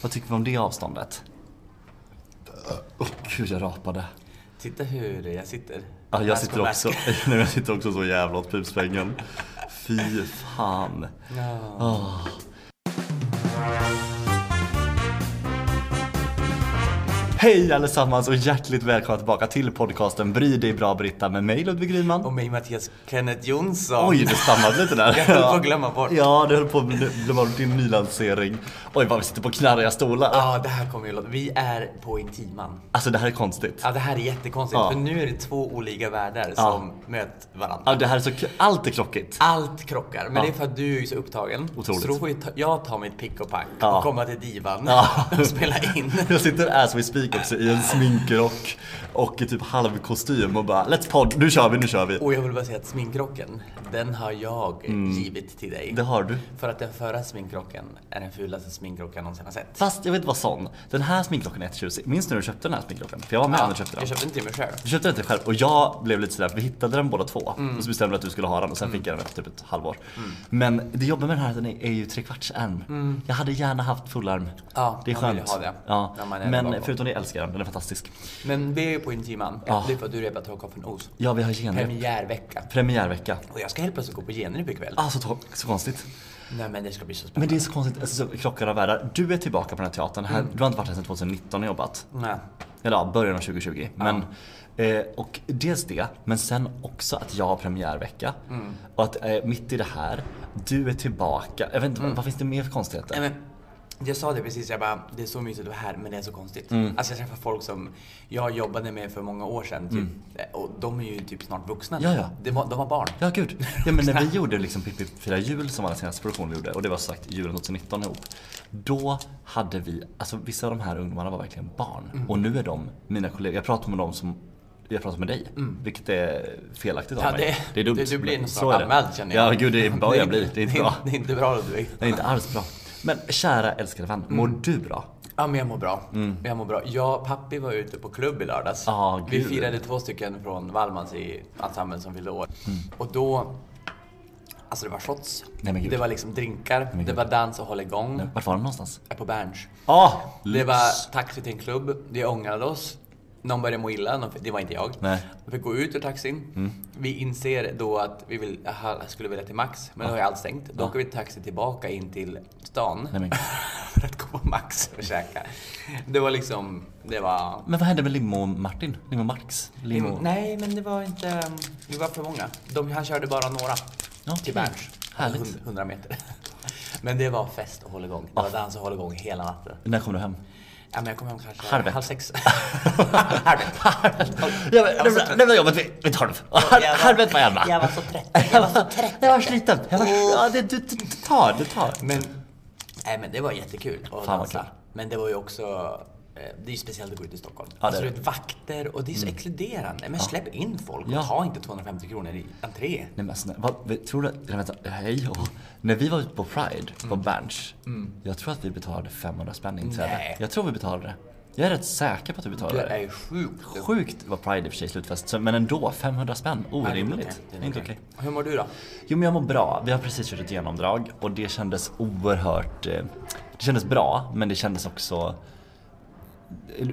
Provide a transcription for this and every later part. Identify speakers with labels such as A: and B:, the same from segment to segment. A: Vad tycker vi om det avståndet? Åh gud, jag rapade.
B: Titta hur jag sitter.
A: Ja, jag
B: Värst
A: sitter
B: på
A: också,
B: värst.
A: nej, jag sitter också så jävla åt pipsvängen. Fy fan.
B: Ja.
A: Åh. Hej allesammans och hjärtligt välkomna tillbaka till podcasten Bry dig bra Britta med mig Ludvig Grynman.
B: Och mig Mattias Kenneth Jonsson.
A: Oj, det stammade lite där.
B: Jag höll på att glömma bort.
A: Ja, du höll på att glömma bort din nylansering. Oj, vad vi sitter på knarriga stolar.
B: Ja, det här kommer ju låta... Vi är på Intiman.
A: Alltså det här är konstigt.
B: Ja, det här är jättekonstigt.
A: Ja.
B: För nu är det två olika världar som möter varandra.
A: Ja, det här är så kl- Allt är klockigt.
B: Allt krockar, men
A: Ja.
B: det är för att du är så upptagen.
A: Otroligt.
B: Så då får ju ta, jag ta mitt pick och pack
A: Ja.
B: och komma till divan
A: Ja.
B: och spela in.
A: Jag sitter as we speak också i en sminkrock och i typ halvkostym och bara Let's pod, nu kör vi, nu kör vi.
B: Och jag vill bara säga att sminkrocken, den har jag
A: Mm.
B: givit till dig.
A: Det har du.
B: För att den förra sminkrocken är den fulaste sminkrocken jag någonsin har sett.
A: Fast jag vet vad sån. Den här sminkrocken är tjusig. Minns du när du köpte den här sminkrocken? För jag var med när du köpte den.
B: jag köpte inte till mig själv.
A: Du köpte den inte själv och jag blev lite sådär, vi hittade den båda två och så bestämde vi att du skulle ha den och sen fick jag den efter typ ett halvår. Men det jobbiga med den här är att den är, är ju trekvartsärm. Jag hade gärna haft fullarm.
B: Ja,
A: det är
B: man vill ju
A: skönt.
B: ha det
A: Ja.
B: när man är
A: Men
B: lagom.
A: förutom det älskar jag den, den är fantastisk.
B: Men det är ju på Intiman.
A: Ja.
B: Det är för att du repar Trollkarlen från Oz.
A: Ja, vi har genrep.
B: Premiärvecka.
A: Premiärvecka.
B: Och jag ska helt plötsligt gå på genrep ikväll.
A: Ah, så, to- så konstigt.
B: Nej men det ska bli så spännande.
A: Men det är så konstigt, alltså, så krockar av världar. Du är tillbaka på den här teatern. Här, Du har inte varit här sedan 2019 och jobbat.
B: Nej.
A: Eller ja, början av 2020. Men, eh, och dels det, men sen också att jag har premiärvecka. Och att eh, mitt i det här, du är tillbaka. Jag vet inte, vad finns det mer för konstigheter?
B: Nej, men, jag sa det precis, jag bara, det är så mysigt att vara här men det är så konstigt.
A: Mm.
B: Alltså jag träffar folk som jag jobbade med för många år sedan typ, och de är ju typ snart vuxna nu.
A: Mm. Ja, ja.
B: De, var, de var barn.
A: Ja gud. Ja men när vi gjorde liksom Pippi firar jul som var den senaste produktionen vi gjorde och det var som sagt julen 2019 ihop. Då hade vi, alltså vissa av de här ungdomarna var verkligen barn.
B: Mm.
A: Och nu är de mina kollegor. Jag pratar med dem som jag pratar med dig, vilket är felaktigt av
B: Mm. Ja,
A: mig.
B: det- det- du blir
A: men
B: nog
A: så
B: snart
A: är det.
B: anmäld, känner jag.
A: Ja gud, det är bra jag blir. Det är inte bra.
B: Det är inte bra Ludvig.
A: Det är inte alls bra. Men kära älskade vän, mår
B: Mm.
A: du bra?
B: Ja, men jag mår bra. Jag mår bra. Jag och pappi var ute på klubb i lördags.
A: Mm. Ah,
B: Vi
A: gud.
B: firade två stycken från Wallmans i ensemblen som fyllde år. Och då... Alltså det var shots.
A: Mm. Nej, men gud.
B: det var liksom drinkar. det
A: gud.
B: var dans och hålligång.
A: Vart var de någonstans?
B: Är På Berns.
A: Ah, lyx.
B: Det var taxi till en klubb. Vi ångrade oss. Någon började må illa. någon- Det var inte jag.
A: Nej. Mm.
B: Vi fick gå ut ur taxin. Vi inser då att vi vill, aha, skulle vilja till Max, men då har ju allt stängt. Då åker vi taxi tillbaka in till stan
A: Nej, men gud.
B: för att gå på Max och käka. Det var liksom, det var...
A: Men vad hände med Limo-Martin? Limo-Marx? Limo...
B: Nej, men det var inte... um, Vi var för många. De, han körde bara några
A: Ja,
B: till
A: kul.
B: Berns.
A: Härligt.
B: Hund- 100 meter. Men det var fest och hålligång. Det var dans och hålligång hela natten.
A: När kom du hem?
B: Ja, men jag kom hem kanske
A: Halv ett.
B: halv sex. halv ett.
A: Ja, men, det, var, det var jobbet vid, vid tolv.
B: Alltså, Jag var-
A: Halvet var hemma.
B: Jag var så trött. Jag var så trött.
A: Jag var sliten. Jag var, ja, det, det, det tar, det tar.
B: Men, nej, men det var jättekul att
A: vad
B: dansa.
A: kul.
B: Men det var ju också... eh, Det är ju speciellt att gå ut i Stockholm.
A: det
B: alltså,
A: är
B: det är vakter och det är så exkluderande. Men släpp in folk och
A: Ja.
B: ta inte 250 kronor i entré.
A: Nej men alltså, när- vad, vi- tror du, nej, vänta, hej åh. När vi var ute på Pride, på Berns. Jag tror att vi betalade 500 spänn inträde.
B: Nej.
A: Jag tror vi betalade det. Jag är rätt säker på att vi betalade
B: Det
A: det.
B: är ju sjukt.
A: Sjukt vad Pride i och för sig slutfest, så- men ändå 500 spänn.
B: Nej, det är
A: Orimligt.
B: okej.
A: Det
B: Det
A: är
B: är
A: inte okej.
B: okej. Hur mår du då?
A: Jo men jag mår bra. Vi har precis kört ett genomdrag och det kändes oerhört... eh, Det kändes bra, men det kändes också...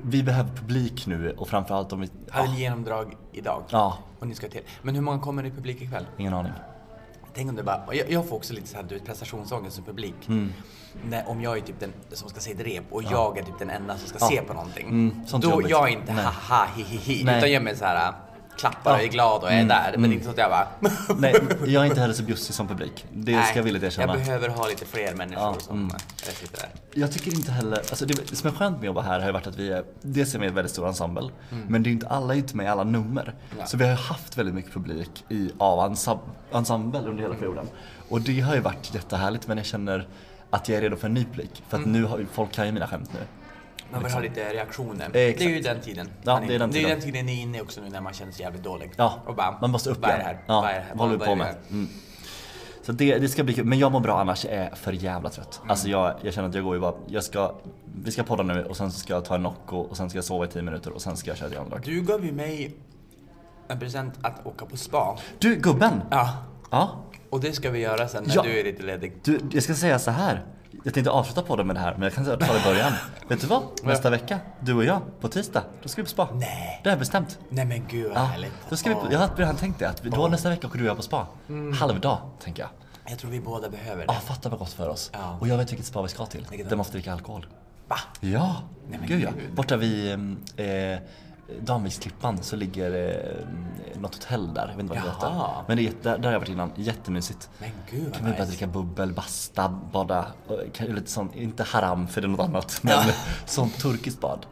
A: Vi behöver publik nu och framförallt om vi...
B: Har
A: Ja,
B: vi genomdrag idag?
A: Ja.
B: Och ni ska till. Men hur många kommer i publik ikväll?
A: ingen aning.
B: Tänk om det bara... och Jag, jag får också lite så här, du vet, prestationsångest som publik.
A: Mm.
B: När, om jag är typ den som ska se ett rep och jag är typ den enda som ska se på någonting.
A: Mm, sånt är
B: då
A: jobbigt.
B: jag är inte
A: Nej.
B: haha hi hi hi
A: Nej. Mm,
B: utan jag är mer så här äh, klappar och är glad och är där. Men inte så att jag bara...
A: Nej, jag är inte heller så bjussig som publik. Det ska jag villigt erkänna. mm.
B: Jag behöver ha lite fler människor som eh, sitter där.
A: Jag tycker inte heller, alltså det, det som är skönt med att jobba här har ju varit att vi är, dels är vi en väldigt stor ensemble, men det är ju inte alla är ju inte med i alla nummer.
B: Mm. Nej.
A: Så vi har ju haft väldigt mycket publik i, av ensam- ensemble under hela perioden. Och det har ju varit jättehärligt men jag känner att jag är redo för en ny publik. För att
B: Mm.
A: nu har ju, folk kan ju mina skämt nu.
B: Man vill ha lite reaktioner.
A: Exakt.
B: Det är ju den tiden.
A: Ja,
B: man
A: det är den
B: Det är
A: tiden.
B: ju den tiden ni är inne i också nu när man känner sig jävligt dålig.
A: Ja,
B: Och bara,
A: man måste upp
B: vad är det
A: igen.
B: här?
A: Ja,
B: Vad är det här?
A: vad håller vi
B: Vad
A: på
B: är det
A: med?
B: här?
A: Mm. Så det, det ska bli kul, men jag mår bra annars, jag är för jävla trött.
B: Mm.
A: Alltså jag, jag känner att jag går ju bara, jag ska, vi ska podda nu och sen så ska jag ta en Nocco och sen ska jag sova i 10 minuter och sen ska jag köra ett genomdrag.
B: Du gav ju mig en present att åka på spa.
A: Du gubben!
B: Ja.
A: ja.
B: Och det ska vi göra sen när
A: Ja.
B: du är lite ledig.
A: Du, jag ska säga så här. Jag tänkte avsluta podden med det här, men jag kan säga att ta det i början. Vet du vad? Nästa vecka, du och jag, på tisdag, då ska vi på spa.
B: Nej.
A: Det har jag bestämt.
B: Nej men gud vad
A: Ja,
B: härligt.
A: då ska vi, på-
B: Åh.
A: jag har redan tänkt det, att vi- då nästa vecka åker du och jag på spa. Halvdag, tänker jag.
B: Jag tror vi båda behöver
A: Mm. Ja,
B: det.
A: fatta vad gott för oss.
B: Ja.
A: Och jag vet vilket spa vi ska till.
B: Vilket då?
A: Där man får dricka alkohol.
B: Va?
A: Ja,
B: men
A: gud ja.
B: gud.
A: Borta vid eh, eh, Danviksklippan så ligger eh, något hotell där. Jag vet inte vad det
B: Jaha.
A: heter. Men det är, jätte- där, där har jag varit innan. Jättemysigt.
B: Men gud
A: Kan vi
B: vad
A: bara
B: nice.
A: dricka bubbel, basta, bada. och kan- Lite sånt, inte haram för det är något annat. Men sånt turkiskt bad.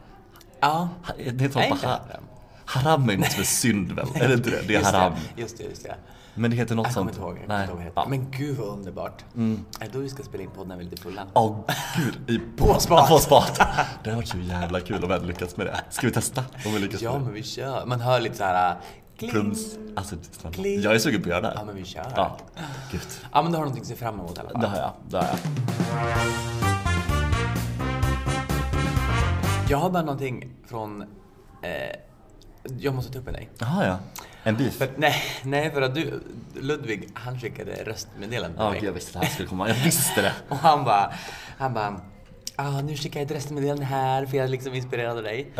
B: Ja.
A: Ha- Det är
B: Nej,
A: sånt
B: inte
A: bara
B: haram.
A: Haram är något som är synd väl? Är det inte det? Det är
B: Just
A: haram.
B: Just det, just det.
A: Men det heter något
B: Jag kommer
A: sånt.
B: inte ihåg. Jag kommer
A: Nej.
B: inte ihåg vad det heter.
A: Ja.
B: Men gud vad underbart. Mm. Är det då vi ska spela in podden när vi är lite fulla?
A: Åh gud, i
B: På spat.
A: På spat. Det har varit så jävla kul om vi hade lyckats med det. Ska vi testa om vi lyckas
B: Ja
A: med det?
B: men vi kör. Man hör lite såhär... Kling.
A: Plums. Alltså snälla.
B: Klick.
A: Jag är sugen på att göra det här.
B: Ja men vi kör.
A: Ja. Gud.
B: Ja men du har någonting att se fram emot i alla fall.
A: Det har jag. Det har jag.
B: Jag har bara någonting från... Eh, jag måste ta upp med dig.
A: Jaha ja. En beef.
B: För, nej, nej, för att du, Ludvig, han skickade röstmeddelande till
A: Ja,
B: mig.
A: gud, jag visste det här skulle komma. Jag visste det.
B: Och han bara, han bara, ah, nu skickar jag ett röstmeddelande här för jag är liksom inspirerad av dig.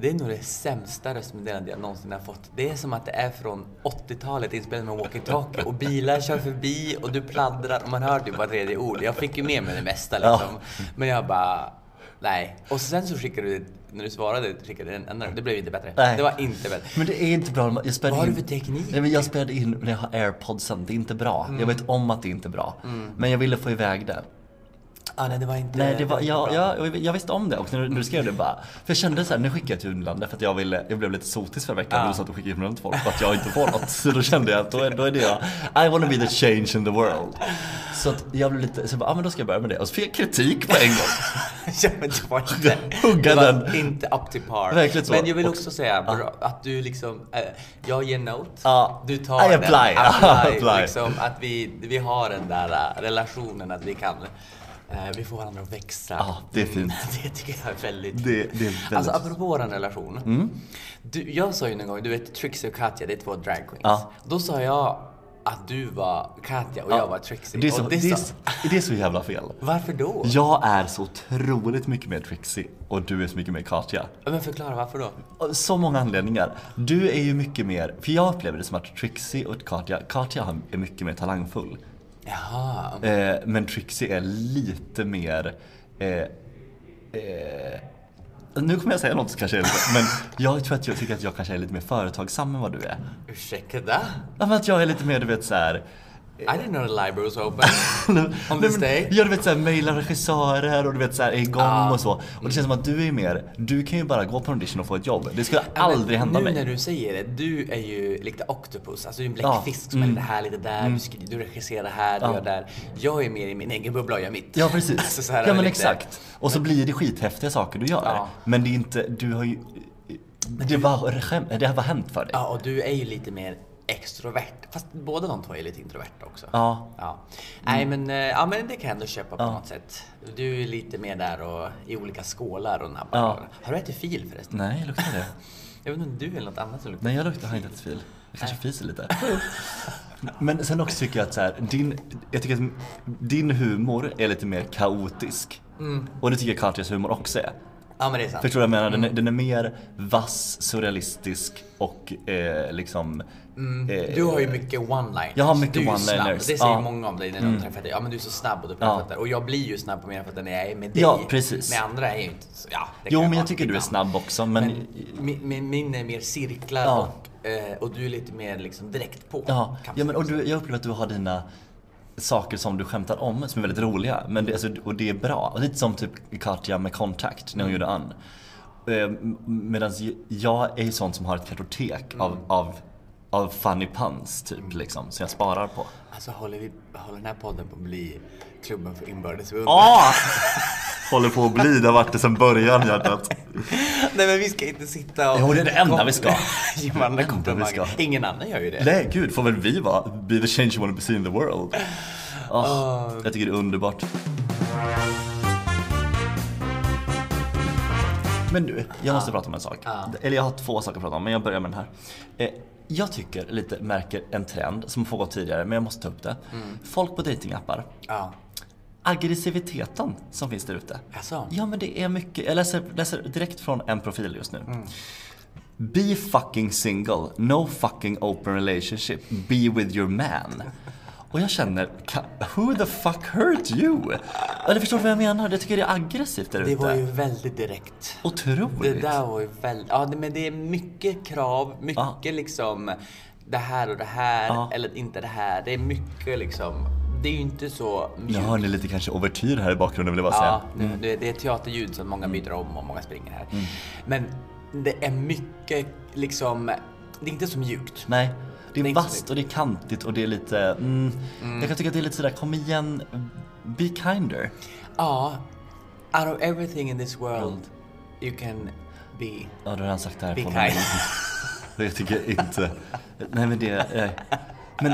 B: Det är nog det sämsta röstmeddelandet jag någonsin har fått. Det är som att det är från 80-talet inspelat med walkie-talkie och bilar kör förbi och du pladdrar och man hör typ var tredje ord. Jag fick ju med mig det mesta liksom. Men jag bara, nej. Och sen så skickade du, när du svarade, skickade du en annan. Det blev inte bättre.
A: Nej.
B: Det var inte bättre.
A: Men det är inte bra. Jag spelade
B: Vad har
A: in-
B: du för teknik? Mm.
A: Nej, men jag spelade in när jag har airpodsen. Det är inte bra. Jag vet om att det inte är bra. Men jag ville få iväg det.
B: Ah, nej, Mm. det var inte
A: Nej, det var,
B: inte
A: jag,
B: bra.
A: jag, jag- jag visste om det och när du skrev det bara. För jag kände så här, nu skickar jag till Unlandet för att jag, ville, jag blev lite sotis förra veckan.
B: Ja.
A: Du sa att du skickar himlen till folk för att jag inte får något. Så då kände jag att då är, då är det jag. I wanna be the change in the world. Så att jag blev lite, så jag bara, ah, men då ska jag börja med det. Och så fick jag kritik på en gång.
B: Ja, men det var inte,
A: Hugga
B: det var
A: den.
B: inte up to par.
A: Verkligen så.
B: Men jag vill
A: Och-
B: också säga bra, att du liksom, eh, jag ger note,
A: Ja.
B: du tar
A: I
B: den.
A: apply.
B: apply,
A: Apply.
B: Liksom, att vi, vi har den där eh, relationen att vi kan, eh, vi får varandra att växa.
A: Ja, det är fint.
B: Mm, det tycker jag är väldigt
A: Det- det är väldigt- Mm.
B: Alltså apropå vår relation. Du, jag sa ju någon gång, du vet Trixie och Katja, det är två drag queens.
A: Ja.
B: Då sa jag att du var Katja och jag var Trixie.
A: Det är, så,
B: och
A: det,
B: det
A: är,
B: sa,
A: så- det är så jävla fel.
B: varför då?
A: Jag är så otroligt mycket mer Trixie och du är så mycket mer Katja.
B: Men förklara varför då?
A: Av Så många anledningar. Du är ju mycket mer, för jag upplever det som att Trixie och Katja, Katja är mycket mer talangfull.
B: Jaha.
A: Eh, men Trixie är lite mer... Eh, eh, nu kommer jag säga något som kanske är lite... Men jag tror att jag tycker att jag kanske är lite mer företagsam än vad du är.
B: Ursäkta?
A: Ja, men Att jag är lite mer, du vet såhär...
B: I didn't know the library was open. On this day?
A: Ja, du vet såhär mejlar regissörer och du vet såhär är igång
B: Ah.
A: och så. Och det känns som att du är mer... Du kan ju bara gå på en audition och få ett jobb. Det skulle
B: Ja, men
A: aldrig hända
B: nu
A: mig.
B: när du säger det, du är ju lite octopus, alltså du är en
A: Ja, Mm.
B: bläckfisk som är lite här, lite där, du, skri- du regisserar här,
A: Ja.
B: du gör där. Jag är mer i min egen bubbla och gör mitt.
A: Ja precis.
B: Alltså, så här
A: ja men
B: lite-
A: exakt. Och så blir det skithäftiga saker du gör.
B: Ja.
A: Men det är inte, du har ju... Det var, skäm- det här var hänt för dig.
B: Ja, och du är ju lite mer extrovert. Fast båda de två är lite introverta också.
A: Ja. Mm.
B: Nej men, eh, ja, men det kan jag ändå köpa på något sätt. Du är lite mer där och i olika skålar och nabbar.
A: Ja.
B: Har du ätit fil förresten?
A: Nej, luktar det?
B: Jag vet inte om du eller något annat som luktar
A: Nej, jag luktar har inte ätit fil. Jag kanske fiser lite. Men sen också tycker jag att så här, din, jag tycker att din humor är lite mer kaotisk.
B: Mm.
A: Och det tycker jag Katjas humor också är.
B: Ja men det är sant.
A: Förstår du vad jag menar? Den är, den är mer vass, surrealistisk och eh, liksom... eh,
B: Mm, Du har ju mycket one-liners.
A: Jag har mycket
B: Du är ju
A: one-liners.
B: snabb. Det säger
A: Ja. Mm.
B: många om dig när de träffar dig. Ja men du är så snabb och du
A: Ja.
B: pratar. fötter. Och jag blir ju snabb på mina fötter när jag är med dig.
A: Ja, precis.
B: Med andra är jag ju inte så, ja, det
A: Jo,
B: kan
A: men
B: vara
A: jag tycker du är
B: ibland.
A: snabb också. Men,
B: Men min, min, min är mer cirklar
A: Ja.
B: och, eh, och du är lite mer liksom direkt på.
A: Ja,
B: kan man
A: ja men, och
B: säga.
A: du, jag upplever att du har dina saker som du skämtar om som är väldigt roliga. Men det, alltså, och det är bra. Och lite som typ Katja med Contact
B: Mm.
A: när hon gjorde Ann. Ehm, Medan jag är ju sån som har ett kartotek
B: Mm.
A: av, av, av funny puns typ liksom, som jag sparar på.
B: Alltså håller, vi, håller den här podden på att bli klubben för inbördes beundran?
A: Ah! Håller på att bli, det har varit det sedan början hjärtat.
B: Nej men vi ska inte sitta och...
A: Jo, det är det enda vi ska.
B: Ge varandra
A: Det enda vi ska.
B: komplimanger. Ingen annan gör ju det.
A: Nej gud, får väl vi vara be the change you wanna be seen in the world. Ah, Jag tycker det är underbart. Men du, jag måste prata om en sak.
B: Ja.
A: Eller jag har två saker att prata om, men jag börjar med den här. Eh, jag tycker lite märker en trend som har pågått tidigare, men jag måste ta upp det. Folk på datingappar
B: Ja.
A: aggressiviteten som finns där ute.
B: Alltså.
A: Ja men det är mycket, jag läser, läser direkt från en profil just nu. Be fucking single, no fucking open relationship, be with your man. Och jag känner, "Ka- who the fuck hurt you? Eller förstår du vad jag menar? Jag tycker det är aggressivt där
B: Det var ju
A: ute.
B: väldigt direkt. Det
A: Otroligt.
B: där var ju väldigt... Ja, det- men det är mycket krav, mycket
A: Ja.
B: liksom det här och det här,
A: Ja.
B: eller inte det här. Det är mycket liksom... Det är ju inte så
A: Nu Mm. hör ni lite kanske ouvertyr här i bakgrunden vill jag bara
B: Ja,
A: säga.
B: nu- det, det är teaterljud som många byter om och många springer här.
A: Mm.
B: Men det är mycket liksom... Det är inte så mjukt.
A: Nej. Det
B: Det är
A: är
B: inte
A: vasst
B: snyggt.
A: och det är kantigt och det är lite, mm, jag kan tycka att det är lite sådär, kom igen, be kinder.
B: Ja, out of everything in this world you can be.
A: Ja, du har redan sagt det här.
B: Be
A: Be
B: kind.
A: Jag tycker inte... Nej men det... Eh. Men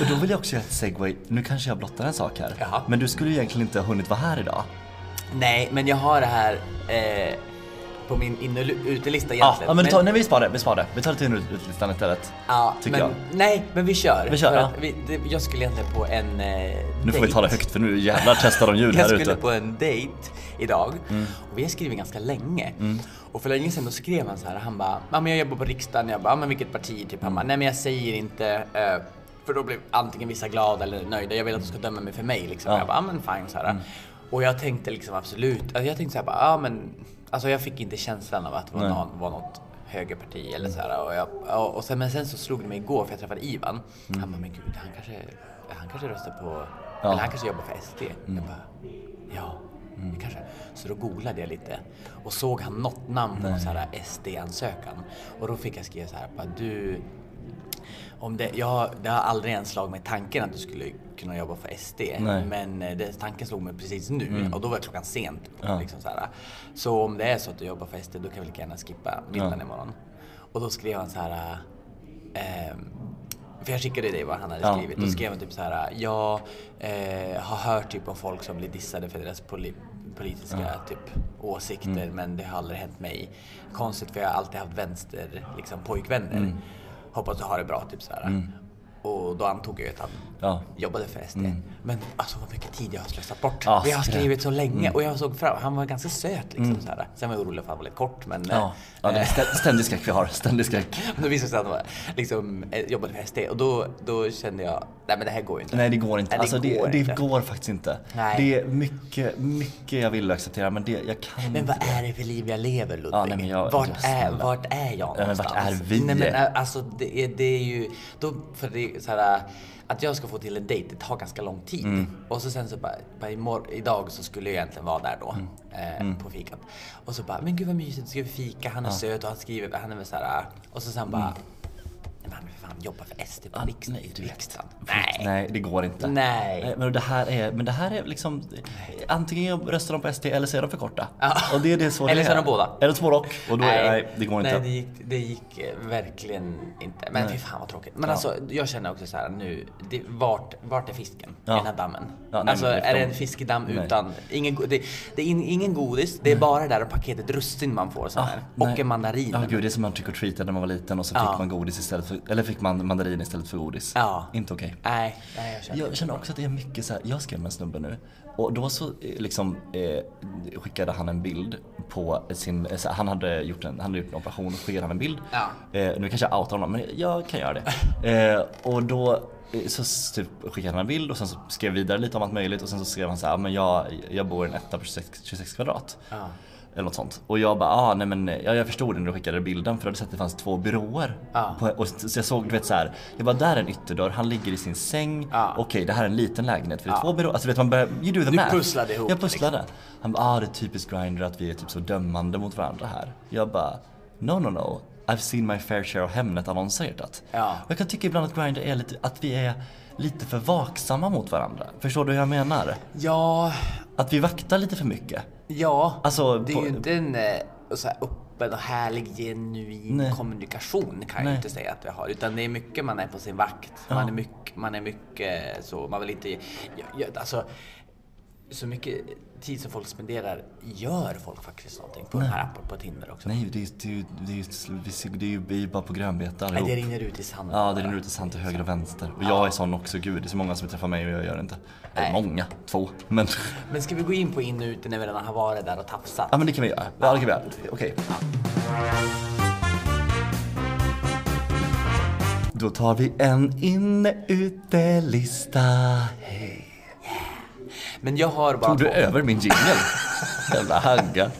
A: och då vill jag också göra ett segway. Nu kanske jag blottar en sak här.
B: Jaha.
A: Men du skulle ju egentligen inte ha hunnit vara här idag.
B: Nej, men jag har det här eh, på min in och lu-
A: Ja,
B: utelista
A: Ah,
B: egentligen.
A: ja, men, ta, nej, vi sparar det. Vi sparar det. Vi tar det till utlistan istället.
B: ja,
A: tycker
B: men,
A: jag.
B: Nej, men vi kör.
A: Vi kör,
B: För
A: ja.
B: att vi, det, jag skulle egentligen på en eh,
A: Nu får vi
B: dejt.
A: tala högt för nu jävlar testar de ljud
B: Jag
A: här
B: skulle
A: ute. Mm.
B: på en dejt idag och vi har skrivit ganska länge. Och för länge sedan då skrev han så här, han bara, ja men jag jobbar på riksdagen, jag bara, "Ja, men vilket parti? Typ han bara, nej men jag säger inte, eh, för då blir antingen vissa glada eller nöjda, jag vill att du ska döma mig för mig liksom.
A: Ja. Mm.
B: Jag bara, ja men fine så här. Och jag tänkte liksom absolut, alltså jag tänkte så här bara, ja men, alltså jag fick inte känslan av att det var,
A: Nej.
B: någon, var något högerparti eller så här. Och, jag, och, och sen, men sen så slog det mig igår för jag träffade Ivan. Han bara, men gud, han kanske, han kanske röstar på,
A: Mm. Ja.
B: eller han kanske jobbar för SD.
A: Mm.
B: Jag bara, ja, det kanske. Så då googlade jag lite och såg han något namn på någon så här SD-ansökan. Och då fick jag skriva så här, bara, du, om det, jag, det har aldrig ens slagit mig tanken att du skulle kunna jobba för SD.
A: Nej. Mm.
B: Men eh, det, tanken slog mig precis nu och då var klockan sent.
A: Ja.
B: Liksom så, här. så om det är så att du jobbar för SD då kan vi lika gärna skippa middagen
A: Ja.
B: imorgon. Och då skrev han så här. Eh, för jag skickade dig vad han hade
A: Ja, mm.
B: skrivit. Då skrev han typ så här. Jag eh, har hört typ om folk som blir dissade för deras poli- politiska typ,
A: Mm.
B: åsikter men det har aldrig hänt mig. Konstigt för jag har alltid haft vänster liksom, pojkvänner.
A: Mm.
B: Hoppas du har det bra typ så här. Och då antog jag ju att han
A: Ja. Mm.
B: jobbade för SD. Men alltså vad mycket tid jag har slösat bort.
A: Ja,
B: Vi har
A: skräp. Mm.
B: skrivit så länge och jag såg fram, han var ganska söt liksom så här. Sen var jag orolig för att han var lite kort men eh,
A: Ja. ja det är stä- ständig skräck vi har. Ständig skräck.
B: då visade det sig att han var, liksom, eh, jobbade för SD och då, då kände jag, nej men det här går ju inte.
A: Nej det går inte.
B: Nej, det
A: Alltså, det,
B: går
A: det
B: inte.
A: går faktiskt inte.
B: Nej.
A: Det är mycket, mycket jag vill acceptera men det, jag kan
B: Men vad är det för liv jag lever Ludvig?
A: Ja, nej, men jag-
B: vart,
A: jag-
B: är,
A: snälla.
B: vart är jag
A: men vart
B: någonstans?
A: är vi?
B: Nej, men, eh, alltså, det, är, det är ju... Då, för det är så här, eh, att jag ska få till en dejt, det tar ganska lång tid.
A: Mm.
B: Och så sen så bara, bara imor- idag så skulle jag egentligen vara där då.
A: Mm.
B: Eh, På fikat. Och så bara, men gud vad mysigt, ska vi fika? Han är söt och han skriver, han är väl så här... eh." Och så sen bara... Nej, men han är för fan jobbar för SD på riks-
A: Mm. Ah, nej, du vet.
B: riksdagen.
A: Nej. Nej, det går inte.
B: Nej.
A: Men det här är, men det här är liksom... Antingen röstar de på SD eller så är de för korta. Och det är det så
B: Eller
A: det
B: så är de båda.
A: Eller två och. Och då är det, nej, det går inte.
B: Nej, det gick, det gick eh, verkligen inte. Men fy fan vad tråkigt. Men alltså, jag känner också så här nu, det, vart, vart är fisken
A: Ja.
B: i den här dammen?
A: Ja, nej,
B: alltså,
A: men det-
B: är det
A: de-
B: en fiskedamm
A: Nej.
B: utan... Ingen, go- det, det är in, ingen godis, det är bara det där paketet russin man får så här.
A: Ah, nej.
B: och en mandarin.
A: Ja gud, det är som man trick or treatade när man var liten och så
B: Ja.
A: fick man godis istället för, eller fick man mandarin istället för godis.
B: Ja.
A: Inte okej.
B: Nej, nej, jag känner
A: Jag känner också att det är mycket så här, jag skrev med en snubbe nu och då så eh, liksom eh, skickade han en bild på sin, eh, så här, han hade gjort en, han hade gjort en operation och så skickade han en bild.
B: Ja.
A: Eh, nu kanske jag outar honom men jag kan göra det. Eh, och då eh, så s- typ skickade han en bild och sen så skrev vidare lite om allt möjligt och sen så skrev han så här, "Ja, men jag, jag bor i en etta på 26, 26 kvadrat.
B: Ja.
A: Eller något sånt. Och jag bara, ah, nej men ja, jag förstod det när du skickade bilden för jag hade sett att det fanns två byråer.
B: Ja.
A: På, och så så jag såg, du vet så här, jag bara där är en ytterdörr, han ligger i sin säng,
B: Ja.
A: okej det här är en liten lägenhet för det är två byråer. Alltså du vet man börjar, you do the
B: Du
A: math.
B: pusslade ihop, liksom.
A: Jag pusslade. Han bara, ah det är typiskt Grindr att vi är typ så dömande mot varandra här. Jag bara, no no no. I've seen my fair share of Hemnet-annonser hjärtat.
B: Ja.
A: Och jag kan tycka ibland att Grindr är lite, att vi är lite för vaksamma mot varandra. Förstår du hur jag menar?
B: Ja,
A: Att vi vaktar lite för mycket.
B: ja.
A: Alltså,
B: det är
A: på-
B: ju inte en eh, så här öppen och härlig genuin
A: Nej.
B: kommunikation kan jag
A: Nej.
B: ju inte säga att jag har. Utan det är mycket man är på sin vakt. Man, är mycket, man är mycket så, man vill inte... Jag, jag, alltså, så mycket tid som folk spenderar gör folk faktiskt någonting på
A: Nej.
B: de här apparna på Tinder också.
A: Nej, det är, det, är, det, är, vi ser- det är ju vi är bara på grönbete
B: Nej,
A: allihop.
B: det rinner ut i sanden.
A: Ja, det rinner ut i sand till höger och vänster. Och jag är sån också, gud. Det är så många som träffar mig och jag gör det inte. Eller
B: Nej.
A: många, två. Men,
B: Men ska vi gå in på in och ute när vi redan har varit där och tafsat?
A: ja men det kan vi göra. Ja, det kan vi göra. Okej. Då tar vi en inne-ute-lista. Hej.
B: Men jag har bara
A: Tog du
B: två.
A: över min jingel? Jävla hagga.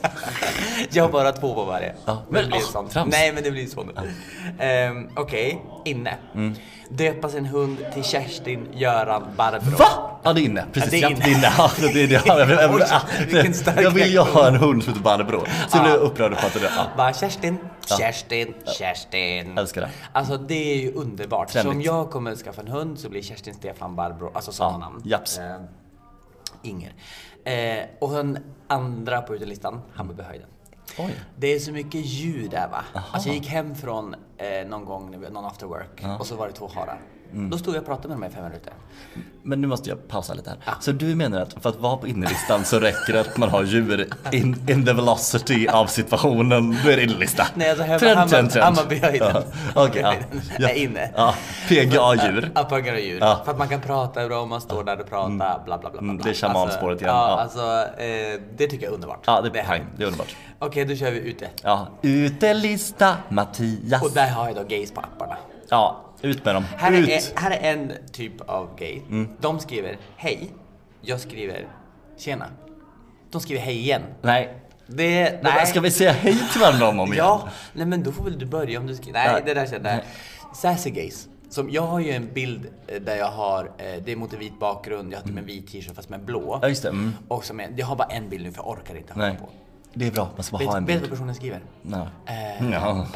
B: Jag har bara två på varje.
A: Ja,
B: men
A: men,
B: det blir
A: ah,
B: sånt.
A: trams.
B: Nej, men det blir så Mm. nu. Ehm, Okej, inne. Döpa sin hund till Kerstin Göran Barbro.
A: Va? Ja det är inne, precis.
B: Ja, det
A: Ja,
B: är inne.
A: det är inne. Ja, det är inne. Ja, jag, jag, jag,
B: Oj, vilken stark
A: jag vill ju ha en hund som heter Barbro. Så jag blev upprörd på att det där. Ja.
B: Bara Kerstin, Kerstin, Kerstin.
A: Älskar det.
B: Alltså det är ju underbart. Så om
A: Trendigt.
B: jag kommer skaffa en hund så blir Kerstin, Stefan, Barbro, alltså sådana namn.
A: japs.
B: Eh, Inger. Eh, och den andra på utelistan, Hammarbyhöjden.
A: Oj.
B: Det är så mycket ljud där va. Alltså jag gick hem från eh, någon gång, när vi- någon after work, och så var det två harar.
A: Mm.
B: Då stod jag och pratade med dem i fem minuter.
A: Men nu måste jag pausa lite här. Så du menar att för att vara på innerlistan så räcker det att man har djur in, in the velocity av situationen. Då är det innerlista.
B: Nej, alltså här var
A: Trend,
B: Hammar-
A: trend, trend.
B: Hammarbyhöjden.
A: Ja, Okej, ja. ja.
B: Är inne.
A: Ja. PGA-djur.
B: Ja, puggar och djur.
A: Ja.
B: För att man kan prata över dem, man står där och pratar, bla bla bla. bla,
A: Mm,
B: bla.
A: det är shamanspåret
B: Alltså,
A: igen,
B: Ja,
A: ja.
B: alltså eh, det tycker jag är underbart.
A: Ja, det är
B: här.
A: pang. Det är underbart.
B: Okej, då kör vi ute.
A: Ja. Utelista Mattias.
B: Och där har jag då gays på apparna.
A: Ja, ut med dem.
B: Här är,
A: Ut! Mm.
B: en, här är en typ av gay. De skriver hej. Jag skriver tjena. De skriver hej igen.
A: Nej.
B: Det,
A: Men
B: nej.
A: Ska vi säga hej till varandra om och om igen?
B: Ja, nej men då får väl du börja om du ska... Nej,
A: Nej.
B: det där känner jag. Sassy gays. Som, jag har ju en bild eh, där jag har, eh, det är mot en vit bakgrund, jag har typ en vit t-shirt fast med blå.
A: Mm. Ja, just det. Mm.
B: Och som är, jag har bara en bild nu för jag orkar inte hålla
A: Nej.
B: på.
A: Det är bra, man ska bara
B: Vet
A: ha en
B: vet du vad
A: bild.
B: personen skriver?
A: Ja.
B: Eh.
A: Ja.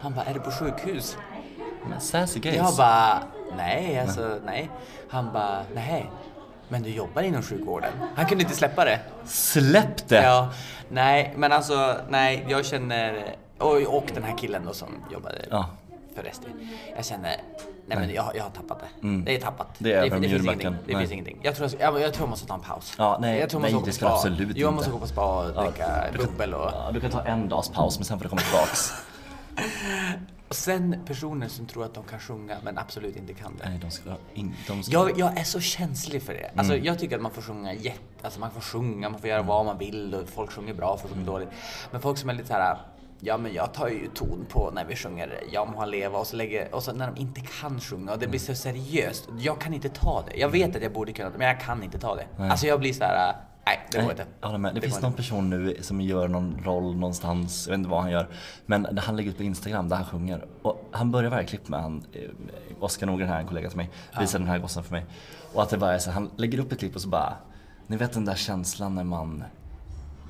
B: Han bara, är du på sjukhus?
A: Men sassy gays.
B: Jag bara, nej alltså nej. Han bara, nej. Men du jobbar inom sjukvården. Han kunde inte släppa det.
A: Släpp det!
B: Ja, nej, men alltså, nej, jag känner... Och, och den här killen då som jobbade
A: Ja.
B: för Resti. Jag känner... Nej, men jag, jag har tappat det. Det är tappat.
A: Mm. Det är över med
B: finns
A: julbacken.
B: ingenting. Det
A: Nej.
B: finns ingenting. Jag tror jag, jag, jag tror jag måste ta en paus.
A: Ja, nej,
B: jag tror jag
A: nej,
B: måste gå
A: det
B: på
A: ska du
B: spa.
A: absolut
B: Jag
A: inte.
B: måste gå på spa och dricka bubbel och...
A: Ja, du kan ta en dags paus men sen får du komma tillbaks.
B: och... Sen personer som tror att de kan sjunga men absolut inte kan det.
A: Nej, de ska... In, de ska Mm.
B: Jag, jag är så känslig för det. Alltså, Jag tycker att man får sjunga jätte... Alltså, man får sjunga, man får göra vad man vill och folk sjunger bra, folk sjunger dåligt. Men folk som är lite så här... Ja, men jag tar ju ton på när vi sjunger Jag må ha leva och så, lägger, och så när de inte kan sjunga och det
A: Mm.
B: blir så seriöst. Jag kan inte ta det. Jag vet att jag borde kunna det, men jag kan inte ta det. Alltså jag blir så här... Nej, det går
A: Nej,
B: inte.
A: jag håller med. Det, finns
B: går
A: någon person nu som gör någon roll någonstans, jag vet inte vad han gör. Men han lägger ut på Instagram där han sjunger. Och han börjar varje klipp med han, eh, Oskar Norgren här, en kollega till mig, visar den här gossen för mig. Och att det bara är så här, han lägger upp ett klipp och så bara, ni vet den där känslan när man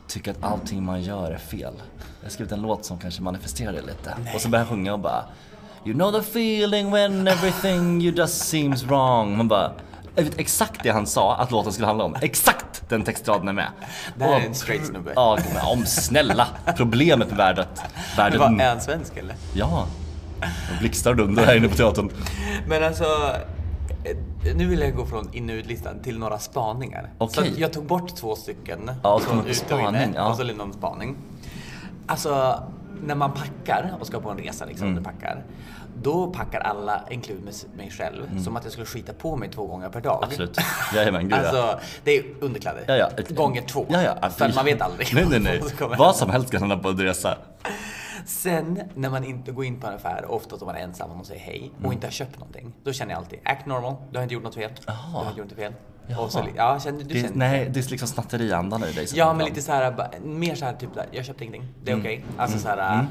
A: tycker att allting man gör är fel. Jag har skrivit en låt som kanske manifesterar det lite. Och så börjar han sjunga och bara You know the feeling when everything you just seems wrong. Man bara jag vet exakt det han sa att låten skulle handla om. Exakt den textraden är med.
B: Det här är
A: Och-
B: en straight snubbe.
A: Ja, men om snälla. Problemet med världen.
B: Men vad, är
A: världen
B: han svensk eller?
A: ja. Och blixtar och dundrar här inne på teatern.
B: Men alltså, eh, nu vill jag gå från in och utlistan till några spaningar.
A: Okej.
B: Så jag tog bort två stycken
A: Ja, och
B: från
A: kommer på
B: ut och inne
A: spaning, ja.
B: och så lite någon spaning. Alltså, när man packar och ska på en resa, liksom,
A: Mm.
B: du packar, då packar alla, inklusive mig- mig själv, som att jag skulle skita på mig två gånger per dag.
A: Mm. Absolut. Jajamän, gud ja.
B: Alltså, det är underkläder.
A: Ja, ja.
B: Gånger två.
A: Ja, ja.
B: För man vet aldrig.
A: Nej, nej, nej.
B: vad som kommer
A: Vad som helst kan hända på en resa.
B: Sen när man inte går in på en affär, ofta om man är ensam och man säger hej och
A: Mm.
B: inte har köpt någonting. Då känner jag alltid, act normal, du har inte gjort något fel. Du har inte gjort något fel. Och så, li- ja, känner, du
A: Det,
B: känner,
A: nej, det är liksom snatteriandan i dig. som Mm.
B: ja
A: kommer
B: men
A: fram.
B: lite så här, ba- mer så här typ, där, jag köpte ingenting, det är okej. Alltså så här,
A: Mm.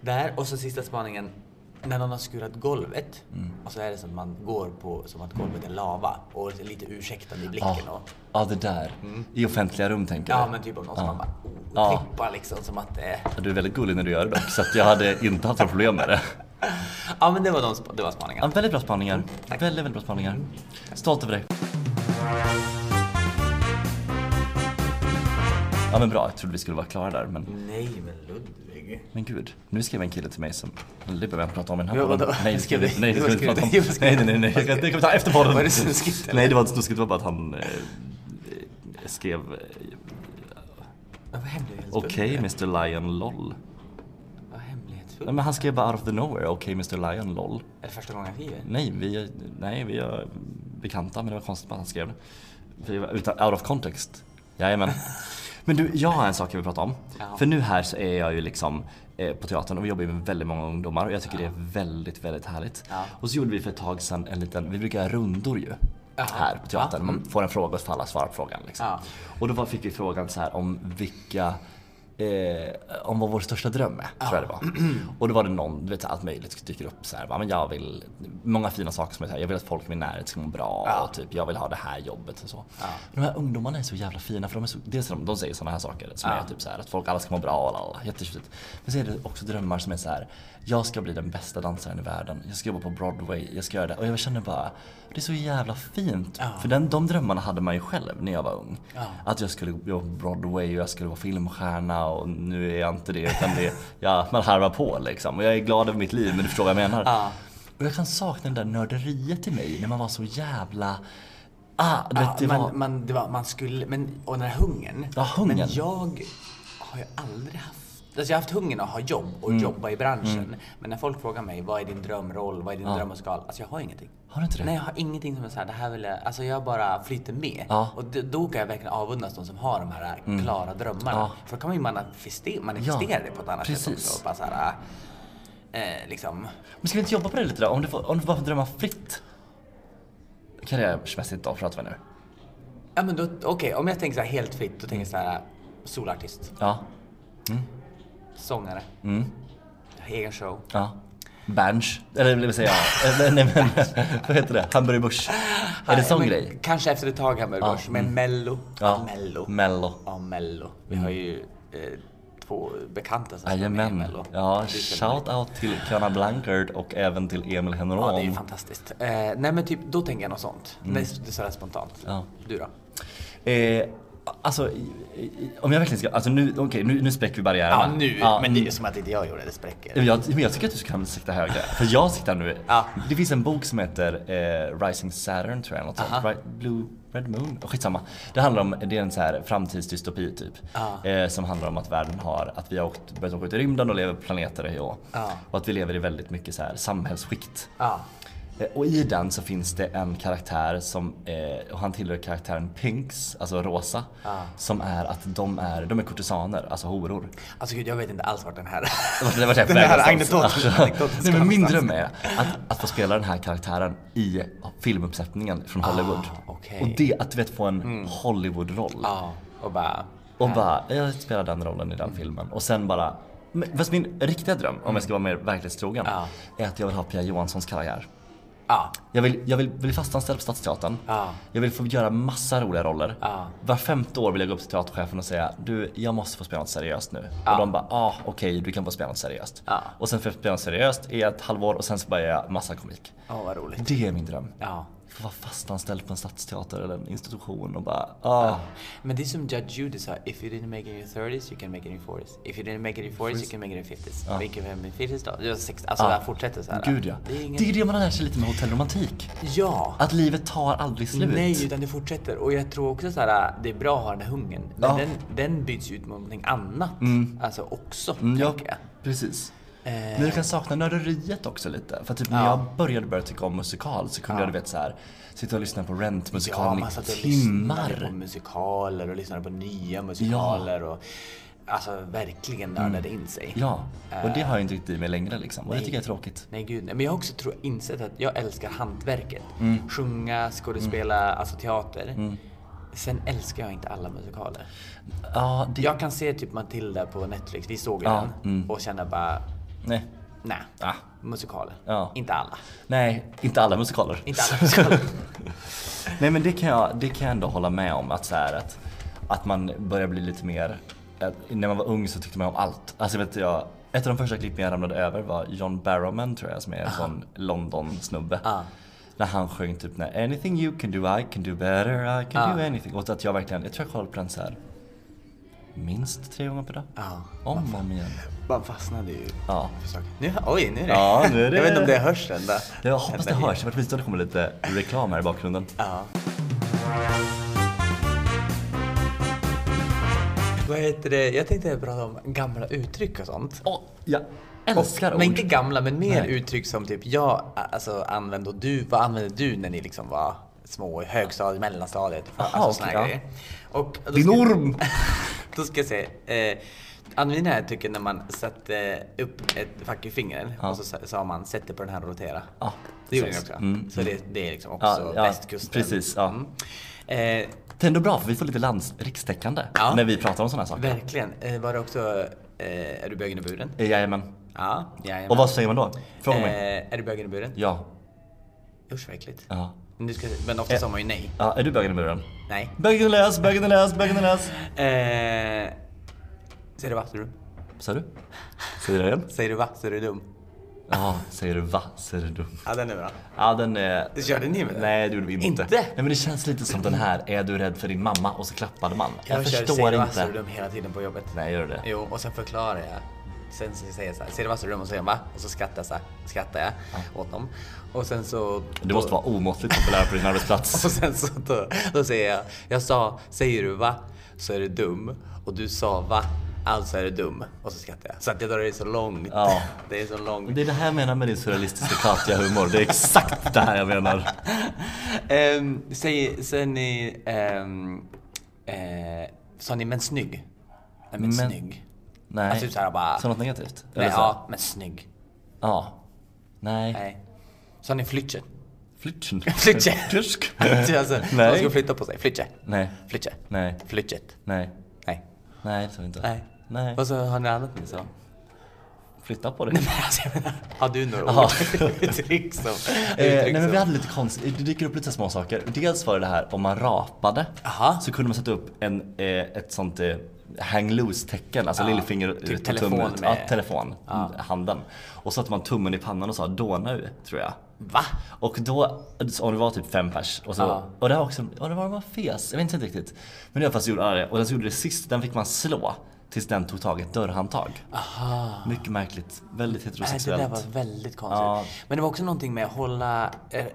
B: där. Och så sista spaningen, när någon har skurat golvet
A: Mm.
B: och så är det som att man går på, som att golvet är lava och är lite ursäktande i blicken.
A: Ja,
B: Och,
A: ja det där. I offentliga rum tänker
B: ja
A: jag.
B: men typ om någon
A: Ah.
B: som man bara, oh,
A: Ja.
B: trippar liksom som att eh,
A: Du är väldigt gullig när du gör det dock, så att jag hade inte haft några problem med det.
B: Ja men det var, de, sp- det var
A: Ja,
B: spaningarna.
A: väldigt bra spaningar. Väldigt, väldigt bra spaningar. Stolt över dig. Ja men bra, jag trodde vi skulle vara klara där men,
B: Nej men Ludvig.
A: men gud. Nu skrev en kille till mig som... Det behöver jag inte prata om i den här
B: Ja,
A: podden.
B: vadå?
A: Nej det ska vi
B: Skrev du?
A: nej, det ska vi
B: Jo,
A: inte prata om.
B: skrev du? Jo,
A: Nej
B: skrev du?
A: nej nej, nej. det kan vi ta efter podden.
B: Var det snuskigt, eller?
A: Nej det var inte snuskigt, det var bara att han eh, skrev eh,
B: Men vad hemlighetsfullt.
A: Okej
B: är det?
A: Mr Lion LOL.
B: Vad hemlighetsfullt.
A: Nej, men han skrev bara out of the nowhere, okej Mr Lion LOL.
B: Är det första gången han skriver?
A: Nej, vi, nej, vi är bekanta men det var konstigt att han skrev det. Vi var utan, out of context. Jajamän. Men du, jag har en sak jag vill prata om.
B: Ja.
A: För nu här så är jag ju liksom eh, på teatern och vi jobbar ju med väldigt många ungdomar och jag tycker det är väldigt, väldigt härligt.
B: Ja.
A: Och så gjorde vi för ett tag sedan en liten, vi brukar göra rundor ju.
B: Ja.
A: Här på teatern. Man får en fråga och så får alla svara på frågan. Liksom.
B: Ja.
A: Och då var- fick vi frågan så här om vilka Eh, om vad vår största dröm är, tror jag det var. Och då var det någon, du vet allt möjligt dyker upp så här, bara, men jag vill, många fina saker som är så här, jag vill att folk i min närhet ska må bra
B: Ja.
A: och typ jag vill ha det här jobbet och så. De här ungdomarna är så jävla fina för de är så, dels är de, de säger sådana här saker som
B: Ja.
A: är typ så här att folk alla ska må bra och alla, jättetjusigt. Men så är det också drömmar som är så här, jag ska bli den bästa dansaren i världen, jag ska jobba på Broadway, jag ska göra det. Och jag känner bara, det är så jävla fint.
B: Ja.
A: För den, de drömmarna hade man ju själv när jag var ung.
B: Ja.
A: Att jag skulle jobba på Broadway och jag skulle vara filmstjärna och nu är jag inte det utan det, ja, man harvar på liksom. Och jag är glad över mitt liv men du förstår vad jag menar.
B: Ja.
A: Och jag kan sakna den där nörderiet i mig när man var så jävla... Ah, du
B: Ja,
A: vet, det
B: man,
A: var...
B: man, det var, man skulle, men, och den här hungern.
A: Ja, hungern.
B: Men jag har ju aldrig haft, alltså jag har haft hungern att ha jobb och
A: Mm.
B: jobba i branschen. Men när folk frågar mig, vad är din drömroll, vad är din drömmusikal? Alltså jag har ingenting.
A: Har du inte det?
B: Nej, jag har ingenting som är såhär, det här vill jag, alltså jag bara flyter med.
A: Ja. Mm.
B: Och d- då kan jag verkligen avundas de som har de här klara drömmarna.
A: Ja.
B: För då kan man ju manifestera, manifestera
A: Ja,
B: det på ett annat sätt
A: precis.
B: också. Bara så här, eh, liksom.
A: Men ska vi inte jobba på det lite då? Om du, får, om du bara får drömma fritt? Karriärmässigt då, pratar vi nu.
B: Ja men då, okej, om jag tänker så här helt fritt, då tänker jag så här, äh, solartist,
A: Ja.
B: sångare.
A: Mm.
B: Egen show.
A: Ja. Berns. Eller vad säger jag? Eller, Nej men, vad heter det? Hamburg Busch. Är det
B: Nej,
A: sån
B: men
A: grej? Mm.
B: Kanske efter ett tag Hamburg Börs, men Mello. Ja. Mello.
A: Mello.
B: Ja, Mello. Vi har ju eh, två bekanta som spelar med i
A: Jajamän.
B: Mello.
A: Ja,
B: Det är så
A: shout out till Kana Blankard och även till Emil Henron.
B: Ja, det är ju fantastiskt. Eh, nej men typ, då tänker jag något sånt. Nej, Det är sådär spontant.
A: Mm. Ja.
B: Du då?
A: Eh, alltså, i- i- om jag verkligen ska... Alltså nu, okej, nu, nu spräcker vi barriärerna.
B: Ja, nu.
A: Ja,
B: men det är ju som att inte jag gjorde det, spräcker.
A: men jag, men jag tycker att du kan sikta högre. För jag siktar nu...
B: Ja.
A: Det finns en bok som heter eh, Rising Saturn tror jag, något sånt.
B: Aha.
A: Right, Blue Red Moon? Oh, skitsamma. Det handlar om, det är en så här framtidsdystopi typ.
B: Ja.
A: Eh, som handlar om att världen har, att vi har åkt, börjat åka ut i rymden och lever på planeter hej och
B: Ja.
A: Och att vi lever i väldigt mycket så här samhällsskikt.
B: Ja.
A: Eh, Och i den så finns det en karaktär som, eh, och han tillhör karaktären Pinks, alltså rosa.
B: Ah.
A: Som är att de är, de är kortisaner, alltså horor.
B: Alltså gud, jag vet inte alls vart den här...
A: Det var det
B: Den här anekdoten- anekdotiska
A: Nej men min
B: någonstans.
A: dröm är att, att få spela den här karaktären i filmuppsättningen från Hollywood.
B: Ah, okej. Mm. Ah.
A: Och det, att du vet få en Hollywood-roll.
B: Ja, och bara...
A: Och bara, jag spelar den rollen i den filmen. Och sen bara, men- fast min riktiga dröm, om jag ska vara mer verklighetstrogen,
B: Ja.
A: är att jag vill ha Pia Johanssons karriär.
B: Ja.
A: Jag vill, jag vill bli fastanställd på Stadsteatern.
B: Ja.
A: Jag vill få göra massa roliga roller.
B: Ja.
A: Var femte år vill jag gå upp till teaterchefen och säga du, jag måste få spela något seriöst nu. Och de bara, ah, okej, du kan få spela något seriöst.
B: Ja.
A: Och sen får jag spela något seriöst i ett halvår och sen så börjar jag massa komik.
B: Åh, vad roligt.
A: Det är min dröm.
B: Ja.
A: Få vara fastanställd på en stadsteater eller en institution och bara, ah.
B: Men det är som Judge Judy sa, if you didn't make it in your 30s you can make it in your 40s. If you didn't make it in your 40s you can make it in your 50s.
A: Ja.
B: Make it in your 50s då? Det var 60, alltså det här fortsätter så här.
A: Gud ja.
B: Det är ingen...
A: Det är det man har lärt sig lite med hotellromantik.
B: Ja.
A: Att livet tar aldrig slut.
B: Nej, utan det fortsätter. Och jag tror också så här, det är bra att ha den här hungern. Men
A: Ja.
B: den, den byts ut mot någonting annat. Alltså också,
A: Mm, ja,
B: tänker jag.
A: precis.
B: Eh.
A: Men du kan sakna nörderiet också lite. För typ när
B: Ja.
A: jag började börja tycka om musikal så kunde jag du vet så här, sitta och lyssna på
B: Ja,
A: Rent-musikalen
B: man
A: i
B: satt och lyssnade på
A: timmar.
B: musikaler och lyssnade på nya musikaler. Och, alltså verkligen nördade in sig.
A: Ja, och det har jag inte riktigt i mig längre liksom. Och det tycker jag är tråkigt.
B: Eh. Nej gud, nej. men jag har också tror, insett att jag älskar hantverket.
A: Mm.
B: Sjunga, skådespela, alltså teater. Sen älskar jag inte alla musikaler.
A: Ja, det...
B: Jag kan se typ Matilda på Netflix, vi såg ju
A: Ja, mm.
B: den, och känna bara,
A: Nej.
B: nej.
A: Ah.
B: Musikaler.
A: Ja.
B: Inte alla.
A: Nej, inte alla musikaler.
B: Inte alla musikaler.
A: Nej men det kan jag, det kan jag ändå hålla med om att så här, att, att man börjar bli lite mer, att när man var ung så tyckte man om allt. Alltså vet jag, ett av de första klippen jag ramlade över var John Barrowman tror jag som är en sån London-snubbe.
B: Ah.
A: När han sjöng typ när anything you can do I can do better I can
B: Ah.
A: do anything. Och att jag verkligen, jag tror jag kollade på den så här minst tre gånger per dag.
B: Ja.
A: Om och om igen.
B: Man fastnade ju
A: Ja.
B: för saker. Nu, oj, nu är det.
A: Ja, nu är det-
B: Jag vet inte om det hörs ända.
A: Jag hoppas det
B: ända hit.
A: hörs, åtminstone kommer lite reklam här i bakgrunden.
B: Ja. Vad heter det? Jag tänkte prata om gamla uttryck och sånt.
A: Åh, jag älskar
B: Men
A: ord.
B: inte gamla, men mer
A: Nej.
B: uttryck som typ jag alltså, använde och du, vad använde du när ni liksom var små i högstadiet, mellanstadiet? För,
A: Aha,
B: alltså,
A: okej,
B: såna här
A: ja.
B: grejer. Och då
A: Din
B: ska-
A: orm!
B: Då ska jag säga. Eh, använda det här tycker när man satte upp ett fack i fingret och så sa- sa man sätt det på den här och rotera.
A: Ja,
B: det gjorde ni
A: precis.
B: också.
A: Mm,
B: Så det, det är liksom också
A: Ja, ja,
B: västkusten.
A: precis, ja.
B: Mm. Eh,
A: Det är ändå bra för vi får lite lands rikstäckande
B: Ja.
A: när vi pratar om sådana här saker.
B: verkligen. Eh, var det också eh, är du bögen i buren?
A: Eh, Jajamän.
B: Ja, jajamän.
A: Och vad säger man då? Fråga mig.
B: eh, Är du bögen i buren?
A: Ja.
B: Usch vad äckligt.
A: Ja.
B: Men, du ska, men ofta sa man ju nej.
A: ja. Är du bögen i muren?
B: Nej.
A: Bögen i läs, bögen i läs, bögen i läs.
B: Eh, säger du va så är du dum.
A: Sa du? Säger du det igen?
B: Säger du va så är du dum.
A: Ja, säger du va? Säger du dum?
B: Ja den är bra.
A: Ja, den är...
B: Körde ni med den?
A: Nej, det gjorde vi inte.
B: Inte?
A: Nej, men det känns lite som den här, är du rädd för din mamma? Och så klappade man. Jag,
B: kör
A: förstår
B: Säger du va, så är du
A: inte.
B: dum hela tiden på jobbet.
A: Nej, gör du det?
B: Jo, och sen förklarar jag. Sen så säger jag så här, ser du vad som är dum? Och så säger jag va? Och så skrattar jag, så här, skrattar jag åt dem. Och sen så...
A: Du måste vara omåttligt populär på din arbetsplats.
B: Och sen så då, då säger jag, jag sa, säger du va? Så är du dum. Och du sa va? Alltså är du dum. Och så skrattar jag. Så att jag drar det så långt.
A: Ja.
B: Det är så långt.
A: Det är det här jag menar med din surrealistiska pratiga humor. Det är exakt det här jag menar.
B: Ehm, säg, säger ni... ehm, eh, sa ni men snygg? Nej, men,
A: Men-
B: snygg.
A: Nej.
B: Alltså, så här bara-
A: Så något negativt?
B: Nej,
A: Eller så?
B: ja, men snygg.
A: ja. Nej.
B: Nej. Sa ni flytche?
A: Flytchen.
B: Flytchen.
A: Tysk.
B: alltså, de
A: Nej.
B: ska flytta på sig. Flytche.
A: Nej.
B: Flytche.
A: Nej.
B: Flytchet.
A: Nej.
B: Nej.
A: Nej, det tror jag inte.
B: Nej.
A: Nej.
B: Och så har ni annat ni sa?
A: Flytta på dig.
B: Alltså, jag menar, har du några
A: Jaha.
B: ord? uttryck som...
A: Eh,
B: uttryck
A: nej men vi
B: som-
A: hade lite konstigt, det dyker upp lite små saker. Dels var det det här om man rapade
B: Aha.
A: så kunde man sätta upp en, eh, ett sånt eh, hang loose tecken, alltså
B: Ja,
A: lillfinger
B: typ
A: eh, till
B: telefon
A: tummen.
B: med-
A: Ja, telefon, handen. Och satte man tummen i pannan och sa då nu, tror jag.
B: Va?
A: Och då, så om det var typ fem pers, och, så,
B: Ja.
A: och det var också, och det var bara fes, jag vet inte riktigt. Men i alla fall så gjorde alla det, och den som gjorde det sist, den fick man slå tills den tog tag i ett dörrhandtag.
B: Aha.
A: Mycket märkligt, väldigt
B: Nej, det där
A: heterosexuellt.
B: var väldigt konstigt.
A: Ja.
B: Men det var också någonting med att hålla eh,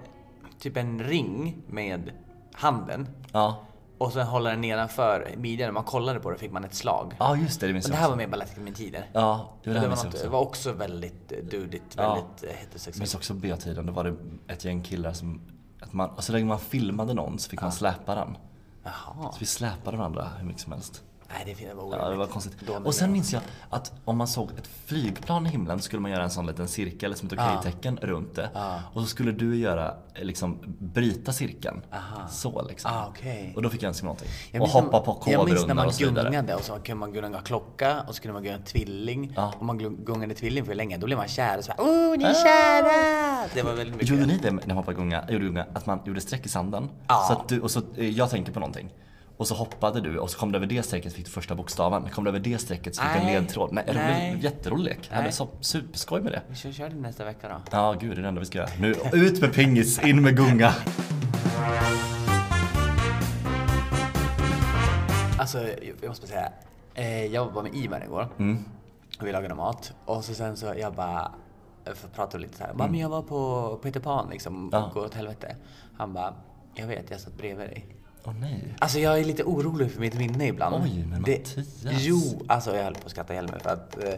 B: typ en ring med handen
A: Ja.
B: och sen hålla den nedanför midjan. När man kollade på det fick man ett slag.
A: ja, just det, det minns
B: Men
A: jag
B: det
A: också.
B: här var mer balletten med tider.
A: Ja, jo, det
B: det,
A: här
B: var
A: minns jag
B: något, det
A: också.
B: var också väldigt eh, dudigt,
A: Ja.
B: väldigt ja.
A: Jag
B: heterosexuellt.
A: minns också B-tiden, då var det ett gäng killar som... Att man, och så länge man filmade någon så fick man släpa den.
B: Jaha.
A: Så vi släpade varandra hur mycket som helst.
B: Nej, det fin- det var orimligt.
A: Ja, det var konstigt.
B: Då
A: Och sen
B: menar
A: minns jag att om man såg ett flygplan i himlen skulle man göra en sån liten cirkel, som ett
B: Ah.
A: okej-tecken runt det.
B: Ja.
A: Och så skulle du göra, eh, liksom bryta cirkeln.
B: Aha.
A: Så liksom.
B: Ah, okej.
A: Och då fick jag önska mig någonting.
B: Jag
A: och
B: minns när-
A: hoppa på
B: Jag minns när
A: kobrunnar
B: man
A: och så vidare.
B: gungade och så kunde man gunga klocka och så kunde man gunga tvilling.
A: Ja. Ah.
B: Om man glung- gungade tvilling för länge då blev man kär och så här, oh ni är kära! Det var väldigt mycket.
A: Gjorde ni det när man hoppade gunga, gjorde gunga, att man gjorde streck i sanden?
B: Ja.
A: Så att du, och så, eh, jag tänker på någonting. Och så hoppade du och så kom du över det strecket så fick du första bokstaven. Kom du över det strecket så fick du en
B: Nej.
A: ledtråd. Nej,
B: Nej.
A: rolig, jätterolig lek. Jag hade
B: Nej.
A: så superskoj med det.
B: Vi kör, kör det nästa vecka då.
A: Ja, gud det är det enda vi ska göra. Nu, ut med pingis, in med gunga.
B: Alltså jag jag måste säga, eh, jag var med Ivar igår
A: Mm.
B: och vi lagade mat och så sen så jag bara eh, för- pratade lite så här. Bara, men jag var på Peter Pan liksom,
A: Mm. Ja.
B: går åt helvete. Han bara, jag vet jag satt bredvid dig.
A: Åh nej.
B: Alltså jag är lite orolig för mitt minne ibland.
A: Oj, men
B: Det-
A: Mattias.
B: Jo, alltså jag höll på att skratta ihjäl mig för att eh,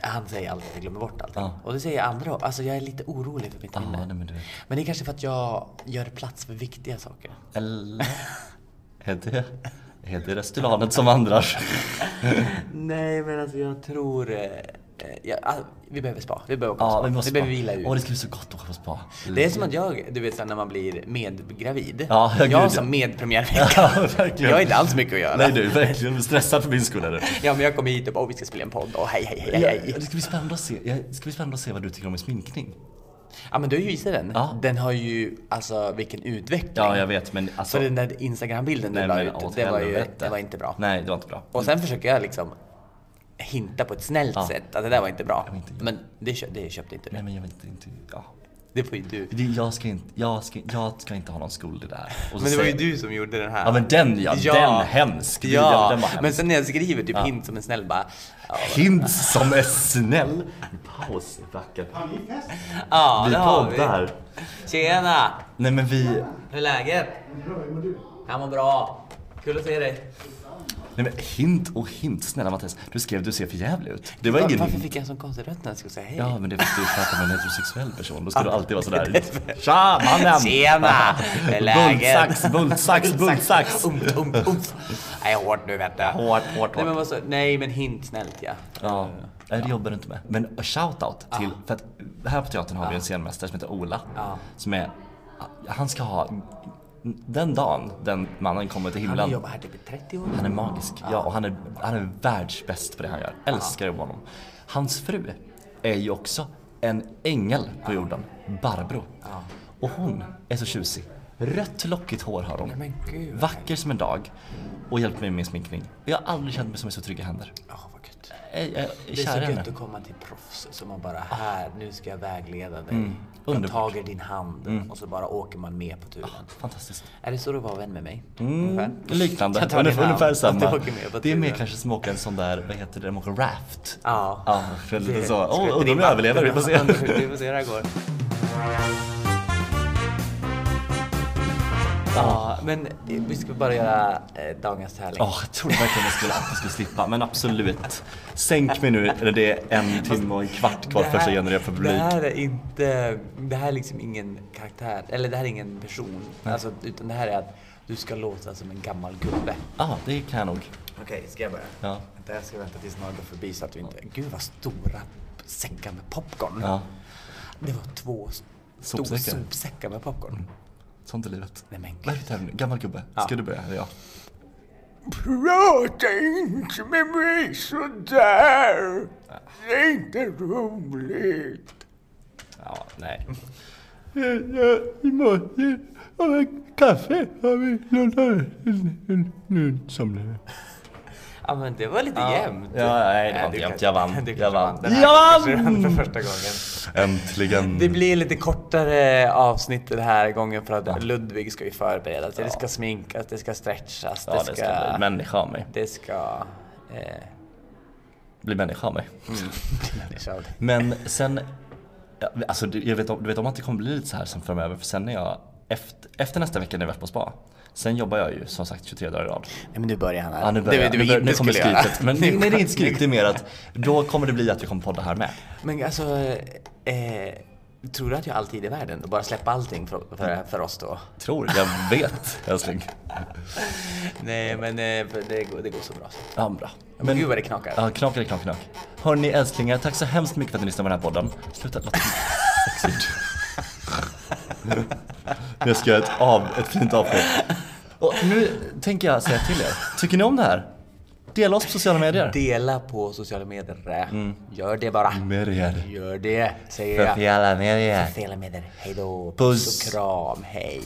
B: han säger alltid att jag glömmer bort allt.
A: Ja.
B: Och det säger andra också. Alltså jag är lite orolig för mitt
A: Ja,
B: minne.
A: nej men du vet.
B: Men det är kanske för att jag gör plats för viktiga saker.
A: Eller? Är det, är det restauranten som vandrar?
B: Nej, men alltså jag tror... eh, eh, jag, ah, vi behöver spa. Vi behöver åka på
A: Ja,
B: spa.
A: vi måste
B: vi behöver vila ut.
A: Åh, det ska bli så gott att åka på spa.
B: Det är som att jag, du vet sen när man blir medgravid.
A: Ja, ja, gud,
B: jag
A: ja.
B: som medpremiärvecka.
A: Ja, verkligen.
B: jag har inte alls mycket att göra.
A: Nej du, verkligen stressad för min skull är du.
B: Ja, men jag kommer hit och bara, oh, vi ska spela en podd och hej, hej, hej, hej,
A: Ja,
B: hej.
A: det ska bli spännande att se. Ja, Det ska bli spännande att se vad du tycker om min sminkning.
B: Ja men du har ju visat den.
A: Ja.
B: Den har ju, alltså vilken utveckling.
A: Ja, jag vet, men alltså...
B: Så den där Instagram-bilden du
A: nej,
B: la
A: men
B: ut,
A: åt
B: det var ju
A: helvete.
B: det var inte bra.
A: Nej, det var inte bra.
B: Och sen försöker jag liksom hinta på ett snällt
A: Ja.
B: sätt att det där var inte bra.
A: var inte jag.
B: men det, kö- det köpte inte du.
A: Nej, men jag vet inte. Ja.
B: Det får ju du.
A: Det, jag, ska inte jag, ska, jag ska inte ha någon skuld i det här. Och så
B: Men det var ju
A: säger-
B: du som gjorde den här.
A: Ja, men den ja. Den hemsk. Det-
B: Ja,
A: Den var hemsk.
B: men sen när jag skriver typ hint som en snäll bara. Ja,
A: Hint som är snäll. Paus i backen.
B: ja
A: Vi
B: det har vi.
A: poddar.
B: Tjena!
A: Nej, men vi...
B: Hur är läget?
C: Bra, hur mår du?
B: Jag mår bra. Kul att se dig.
A: Nej men hint och hint. Snälla Mattias, du skrev du ser för jävlig ut. Det var
B: Var,
A: ingen
B: varför
A: hint.
B: fick jag en sån konstig röst när jag skulle säga hej?
A: Ja men det är för att du pratar med en heterosexuell person. Då ska du alltid vara sådär. Tja mannen!
B: Tjena! Hur är
A: Bultsax,
B: läget?
A: bultsax, bultsax.
B: Umf, umf, umf. Nej, hårt nu vet du.
A: Hårt, hårt,
B: Nej men,
A: hårt.
B: vad så, nej men hint snällt ja. Ah.
A: Ja. Nej, Eh, det jobbar du inte med. Men shout-out till, för att här på teatern har vi en scenmästare som heter Ola.
B: Ja.
A: Som är, han ska ha, den dagen den mannen kommer till
B: Han Ah. har
A: himlen.
B: jobbat här typ i 30 år.
A: Han är magisk. Ja, och han är, han är världsbäst på det han gör.
B: Ah.
A: Älskar jobba med honom. Hans fru är ju också en ängel på
B: Ah.
A: jorden. Barbro. Och hon är så tjusig. Rött lockigt hår har hon.
B: men gud.
A: Vacker som en dag. Och hjälper mig med min sminkning. Jag har aldrig känt mig som i så trygga händer.
B: Ja, vad gött.
A: Jag, jag, jag är kär
B: Det
A: i
B: är så
A: henne.
B: gött att komma till proffs som man bara här, nu ska jag vägleda dig. Jag
A: Ah. Mm. Underbart. Mm.
B: tager din hand och så bara åker man med på turen.
A: Fantastiskt.
B: Är det så du var vän med mig? Ungefär?
A: Mm. Liknande.
B: Jag tar din
A: Ungefär,
B: hand
A: ungefär
B: och
A: samma.
B: du åker med på
A: det är mer
B: turen.
A: kanske som att åka en sån där, vad heter det, de åker raft.
B: Ja.
A: Ja, för lite
B: Det-
A: så.
B: ska vi
A: Åh, undrar om
B: driva?
A: jag överlever. Vi får se.
B: Vi får se hur det här går. Ja, men vi ska bara göra eh, dagens tävling.
A: Ja, jag trodde verkligen jag skulle, att jag skulle slippa, men absolut. Sänk mig nu, eller det är en timme och en kvart kvar
B: Det
A: förrän jag
B: här-
A: genererar för
B: Det
A: publik.
B: här är inte, det här är liksom ingen karaktär, eller det här är ingen person. Alltså, utan det här är att du ska låta som en gammal gubbe.
A: Ja, ah, det kan jag nog.
B: Okej, ska jag börja?
A: Ja.
B: Vänta, jag ska vänta tills någon går förbi så att du inte... Gud vad stora säckar med popcorn.
A: Ja,
B: Det var två s- stora
A: Sopsäckar. Mm.
B: sopsäckar med popcorn.
A: sånt är livet.
B: Nej men
A: Vad är det här? Gammal gubbe. Ska du börja? Eller jag?
C: Prata inte med mig sådär! Det är inte roligt.
A: Ja, nej.
C: Imorgon av ett kaffe har vi någon annan insamlare.
B: Ja men det var lite jämnt.
A: Ja, nej, det var inte
B: du
A: jämnt.
B: kan-
A: Jag
B: du
A: vann. Jag
B: kanske
A: vann.
B: Den här kanske vann för första gången.
A: Äntligen.
B: Det blir lite kortare avsnitt den här gången för att Ludvig ska ju förbereda sig. Det ska sminkas, det ska stretchas,
A: Ja, det ska bli människa av mig.
B: Det ska... Eh,
A: Bli människa av mig.
B: liksom.
A: Men sen, ja, alltså du, jag vet, om- du vet om att det kommer bli lite så här sen framöver för sen när jag, efter, efter nästa vecka när vi har varit på spa, sen jobbar jag ju som sagt 23 dagar i rad.
B: Nej men nu börjar han här.
A: Ja, nu börjar
B: det
A: jag.
B: du
A: Nu börjar-
B: inte
A: nu kommer
B: skulle göra.
A: skrytet. Men, nej, det är inte skryt, det är mer att då kommer det bli att vi kommer podda här med.
B: Men alltså, eh, tror du att jag har all tid i världen och bara släppa allting för, för, för oss då?
A: Tror, jag vet älskling.
B: Nej, men eh, för det, går, det går så bra.
A: Ja, bra.
B: Men, gud vad det knakar.
A: Ja, knak eller knak, knak. Hörni älsklingar, tack så hemskt mycket för att ni lyssnar på den här podden. Sluta låta sexigt. Jag ska göra ett, av, ett fint avsked. Och nu tänker jag säga till er, tycker ni om det här? Dela oss på sociala medier.
B: Dela på sociala medier. Gör det bara.
A: Medier.
B: Gör det, säger jag.
A: Sociala medier.
B: Sociala medier. Hej då.
A: Puss.
B: och kram. Hej.